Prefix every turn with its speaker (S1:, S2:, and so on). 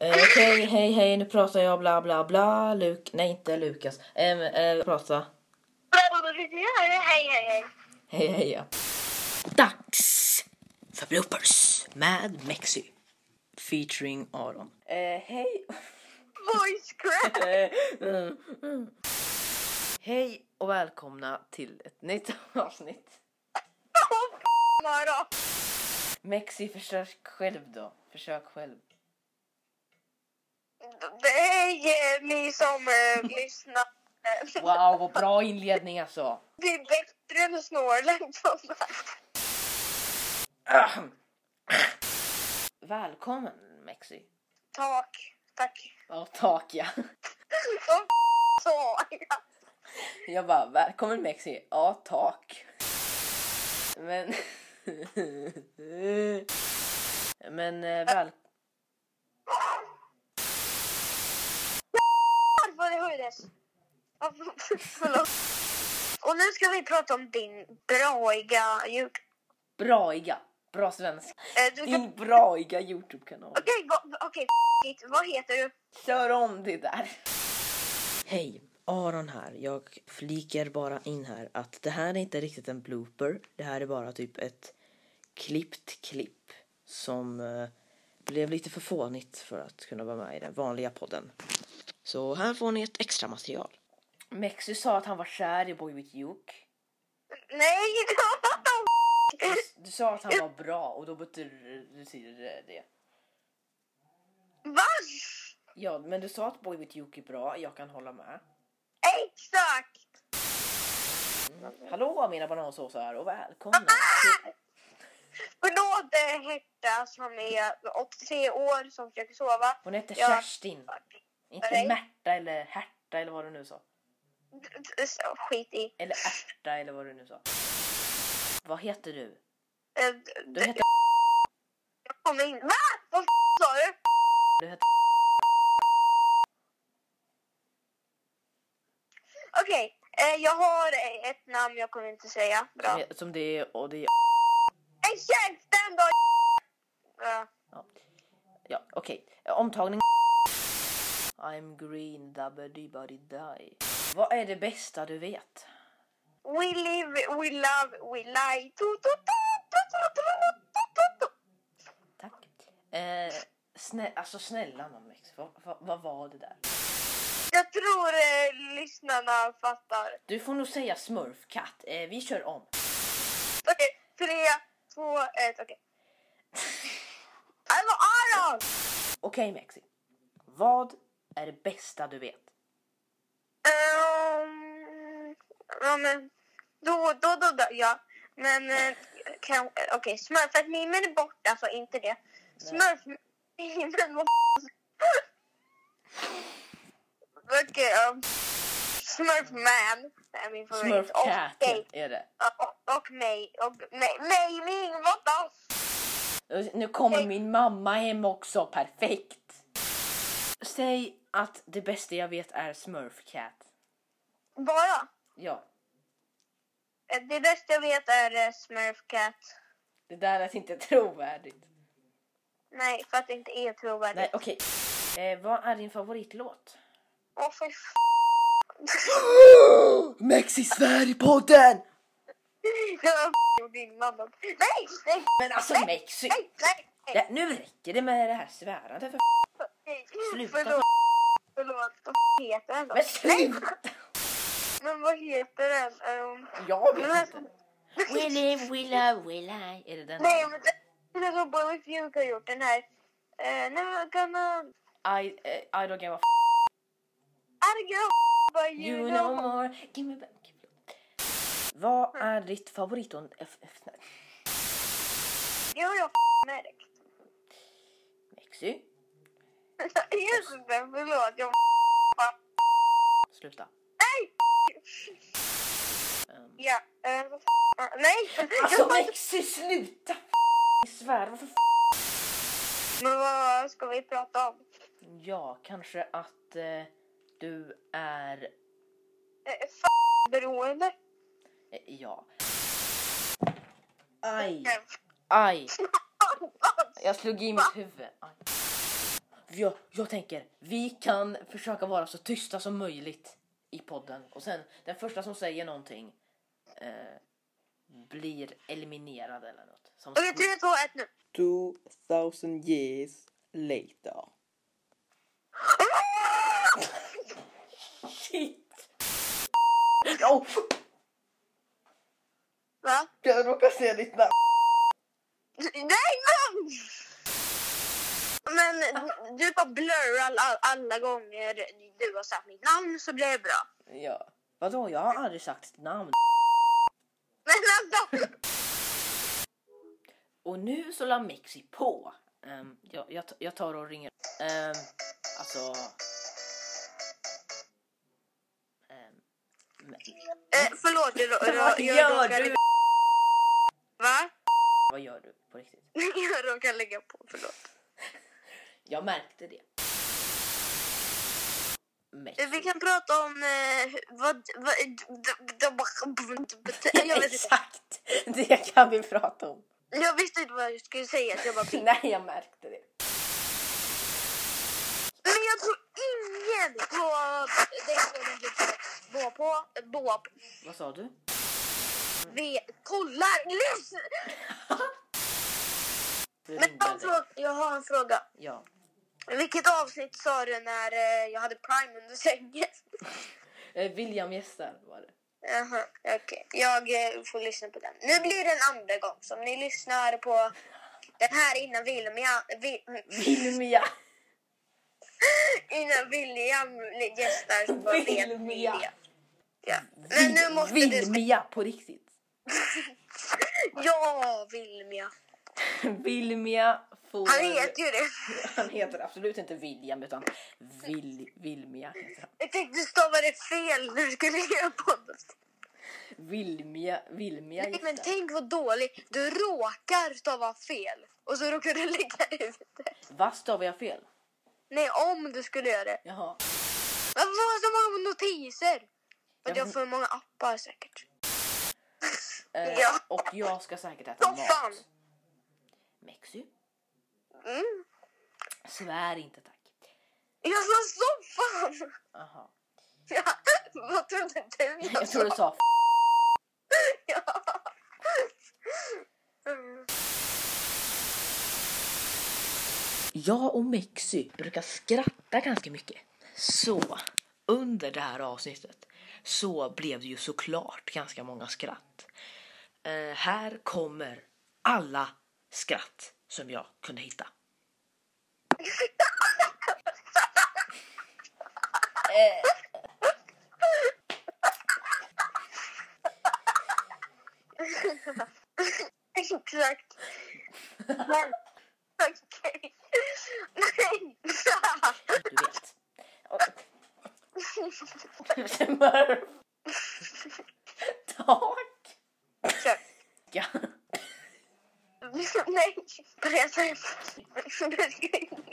S1: Eh, Okej, hej, hej, nu pratar jag bla, bla, bla. Luk... Nej, inte Lukas. Eh, eh, prata.
S2: Hej, hej, hej.
S1: Hej, hej, ja.
S3: Dags för bloopers med Mexi. Featuring Aron.
S1: Eh, hej.
S2: Voice crack.
S1: hej och välkomna till ett nytt avsnitt.
S2: Åh, Mara.
S1: Mexi, försök själv då. Försök själv.
S2: Hej eh, ni som eh, lyssnar.
S1: Wow, vad bra inledning alltså.
S2: Det är bättre än Snorlax.
S1: Välkommen Mexi.
S2: Tak. Tack.
S1: Ja, tak ja.
S2: Så så.
S1: Jag bara, välkommen Mexi. Ja, tak. Men... Men eh, väl...
S2: Varför det höjdes? Ja, Förlåt. Och nu ska vi prata om din braiga Youtube.
S1: Braiga. Bra svenska.
S2: Eh, du kan...
S1: Din braiga Youtube-kanal.
S2: Okej, gå- okej. f- it. Vad heter du?
S1: Kör om det där.
S3: Hej, Aron här. Jag flikar bara in här att det här är inte riktigt en blooper. Det här är bara typ ett klippt klipp som eh, blev lite för fånigt för att kunna vara med i den vanliga podden. Så här får ni ett extra material.
S1: Mexi sa att han var kär i Boy With Juke.
S2: Nej,
S1: Du, du sa att han var bra och då betyder det.
S2: vad?
S1: Ja, men du sa att Boy With Juke är bra. Jag kan hålla med.
S2: Exakt.
S1: Hallå mina banansåsar och
S2: Ah,
S1: välkomna till...
S2: Förlåt eh, Herta som är 83 år som försöker sova.
S1: Hon heter
S2: Ja.
S1: Kerstin. Inte
S2: Nej.
S1: Märta eller Herta eller vad du nu sa.
S2: Så, Skit i.
S1: Eller Ärta eller vad du nu sa. Vad heter du?
S2: Eh,
S1: Du heter...
S2: Kom in. Va? Vad f- sa du?
S1: Du heter...
S2: Okej, eh, jag har eh, ett namn jag kommer inte säga. Bra.
S1: Som, som det är och det är...
S2: Hej käften då! Bra.
S1: Ja, okej. Omtagning. I'm green dabbedy buddy die. Vad är det bästa du vet?
S2: We live, we love, we lie. Tu, tu, tu, tu, tu, tu, tu, tu, tu.
S1: Tack. Eh, snä... Alltså snälla mamma X, vad, vad, vad var det där?
S2: Jag tror eh, lyssnarna fattar.
S1: Du får nog säga smurfkatt. Eh, vi kör om.
S2: Okej, tre, två, ett, okej. Alltså Aron!
S1: Okej Mexi. Vad är det bästa du vet?
S2: Ehm, ja, men då, då, då, då ja. Men eh, kan- eh, okej, smurfmimen är borta, alltså inte det. Smurfmimen var Okej, ja. Smurfman är min favorit. Och
S1: Smurfkatten
S2: mig.
S1: är det.
S2: Och, och mig. Och mig. Mig, min, what the f-
S1: Nu kommer
S2: Hej.
S1: min mamma hem också, perfekt! Säg att det bästa jag vet är smurfcat.
S2: Bara.
S1: Ja,
S2: Eh, Det bästa jag vet är eh, Smurfcat.
S1: det där lät inte trovärdigt.
S2: Nej, för att det inte är trovärdigt.
S1: Nej, okej. Eh, vad är din favoritlåt?
S2: Åh, för f-
S3: Mexi svär i podden!
S2: Jag gjorde innan. Nej, nej,
S1: Men alltså Mexi!
S2: nej, nej.
S1: Ja,
S2: nej.
S1: nu räcker det med det här svärandet för Sluta.
S2: Förlåt. Förlåt. Vad heter den då?
S1: Men sluta!
S2: Men vad heter den? Ehm,
S1: Jag
S2: den här
S1: vet
S2: som...
S1: inte. We live, we love, we lie. Är det den?
S2: Nej, men den- den här som Boy With Duke har gjort. Den här... Uh, never gonna...
S1: I, eh, I don't give a f-
S2: I go by you,
S1: You know more. Give me back. Vad är ditt favorit... F- F-
S2: Det har jag märkt.
S1: Mexi?
S2: Just det, förlåt. Jag...
S1: Sluta.
S2: Nej!
S1: Ehm,
S2: Ja, eh, vad f- Nej!
S1: Alltså Mexi sluta! Jag svär, varför f-
S2: Men vad ska vi prata om?
S1: Ja, kanske att eh, du är...
S2: Eh, F beroende.
S1: Eh, ja. Aj,
S2: Eh, alltså.
S1: aj. Jag slog i mitt huvud. Aj. jag, jag tänker, vi kan försöka vara så tysta som möjligt i podden. Och sen, den första som säger någonting eh, blir eliminerad eller något. Som
S2: Okej, tre, två, ett nu.
S3: 2000 years later.
S1: Shit! Oh,
S2: Va?
S3: Jag råkade säga ditt namn.
S2: Nej, men... Men du bara blurrar alla, alla gånger du har sagt mitt namn så blir det bra.
S1: Ja. Vadå, jag har aldrig sagt ett namn.
S2: Men vänta!
S1: Och nu så la Mexi på. Ehm, jag, jag, t- jag tar och ringer. Um, alltså... Ehm, men,
S2: Eh, förlåt, jag, jag,
S1: vad
S2: jag,
S1: gör
S2: råkade-
S1: du?
S2: Va?
S1: Vad gör du på riktigt?
S2: Jag råkade lägga på, förlåt.
S1: Jag märkte det. Mexi.
S2: Eh, Vi kan prata om... Eh, vad, vad, jag, vet inte,
S1: Exakt! Det kan vi prata om.
S2: jag visste inte vad jag skulle säga, så jag bara...
S1: Nej, jag märkte det.
S2: Men jag tror ingen på den gången du var på, var på,
S1: Vad sa du?
S2: vi kollar, lyssna!
S1: Du
S2: Men alltså-
S1: ringde
S2: jag har, en
S1: dig.
S2: fråga, jag har
S1: Ja.
S2: en fråga. Vilket avsnitt sa du när eh, jag hade Prime under sängen?
S1: Eh, William gästar var det.
S2: Jaha, okej. Jag eh, får lyssna på den. Nu blir det en andra gång. Så om ni lyssnar på den här innan William, vi,
S1: Vilmia!
S2: innan William gästar så bara vet ni
S1: Wilmia.
S2: det. Ja. Men nu måste du...
S1: Vilmia på riktigt.
S2: Ja, Wilmia.
S1: Vilmia får...
S2: Han heter ju det.
S1: Han heter absolut inte William utan Vil... Vilmia heter han.
S2: Jag tänkte stava det fel när du skulle göra podden.
S1: Vilmia, Vilmia
S2: Nej, men
S1: gästar.
S2: tänk vad dålig. Du råkar stava fel och så råkar du lägga ut det.
S1: Vad stavar jag fel?
S2: Nej, om du skulle göra det.
S1: Jaha.
S2: Varför får jag så många notiser? För
S1: Ja,
S2: att jag
S1: men-
S2: får många appar säkert.
S1: Eh,
S2: Ja.
S1: Och jag ska säkert äta
S2: Soffan!
S1: mat. Mexi,
S2: Mm.
S1: svär inte tack.
S2: Jag sa soffan!
S1: Aha.
S2: Ja, vad trodde du
S1: Jag tror du sa f-
S2: Ja. Mm.
S3: Jag och Mexi brukar skratta ganska mycket. Så under det här avsnittet så blev det ju såklart ganska många skratt. Eh, här kommer alla skratt som jag kunde hitta.
S1: eh,
S2: Exakt. Men, Okej.
S1: du vet.
S2: Nej.
S1: Smurf. Tack.
S2: Kör.
S1: Ja.
S2: Nej, på det sättet.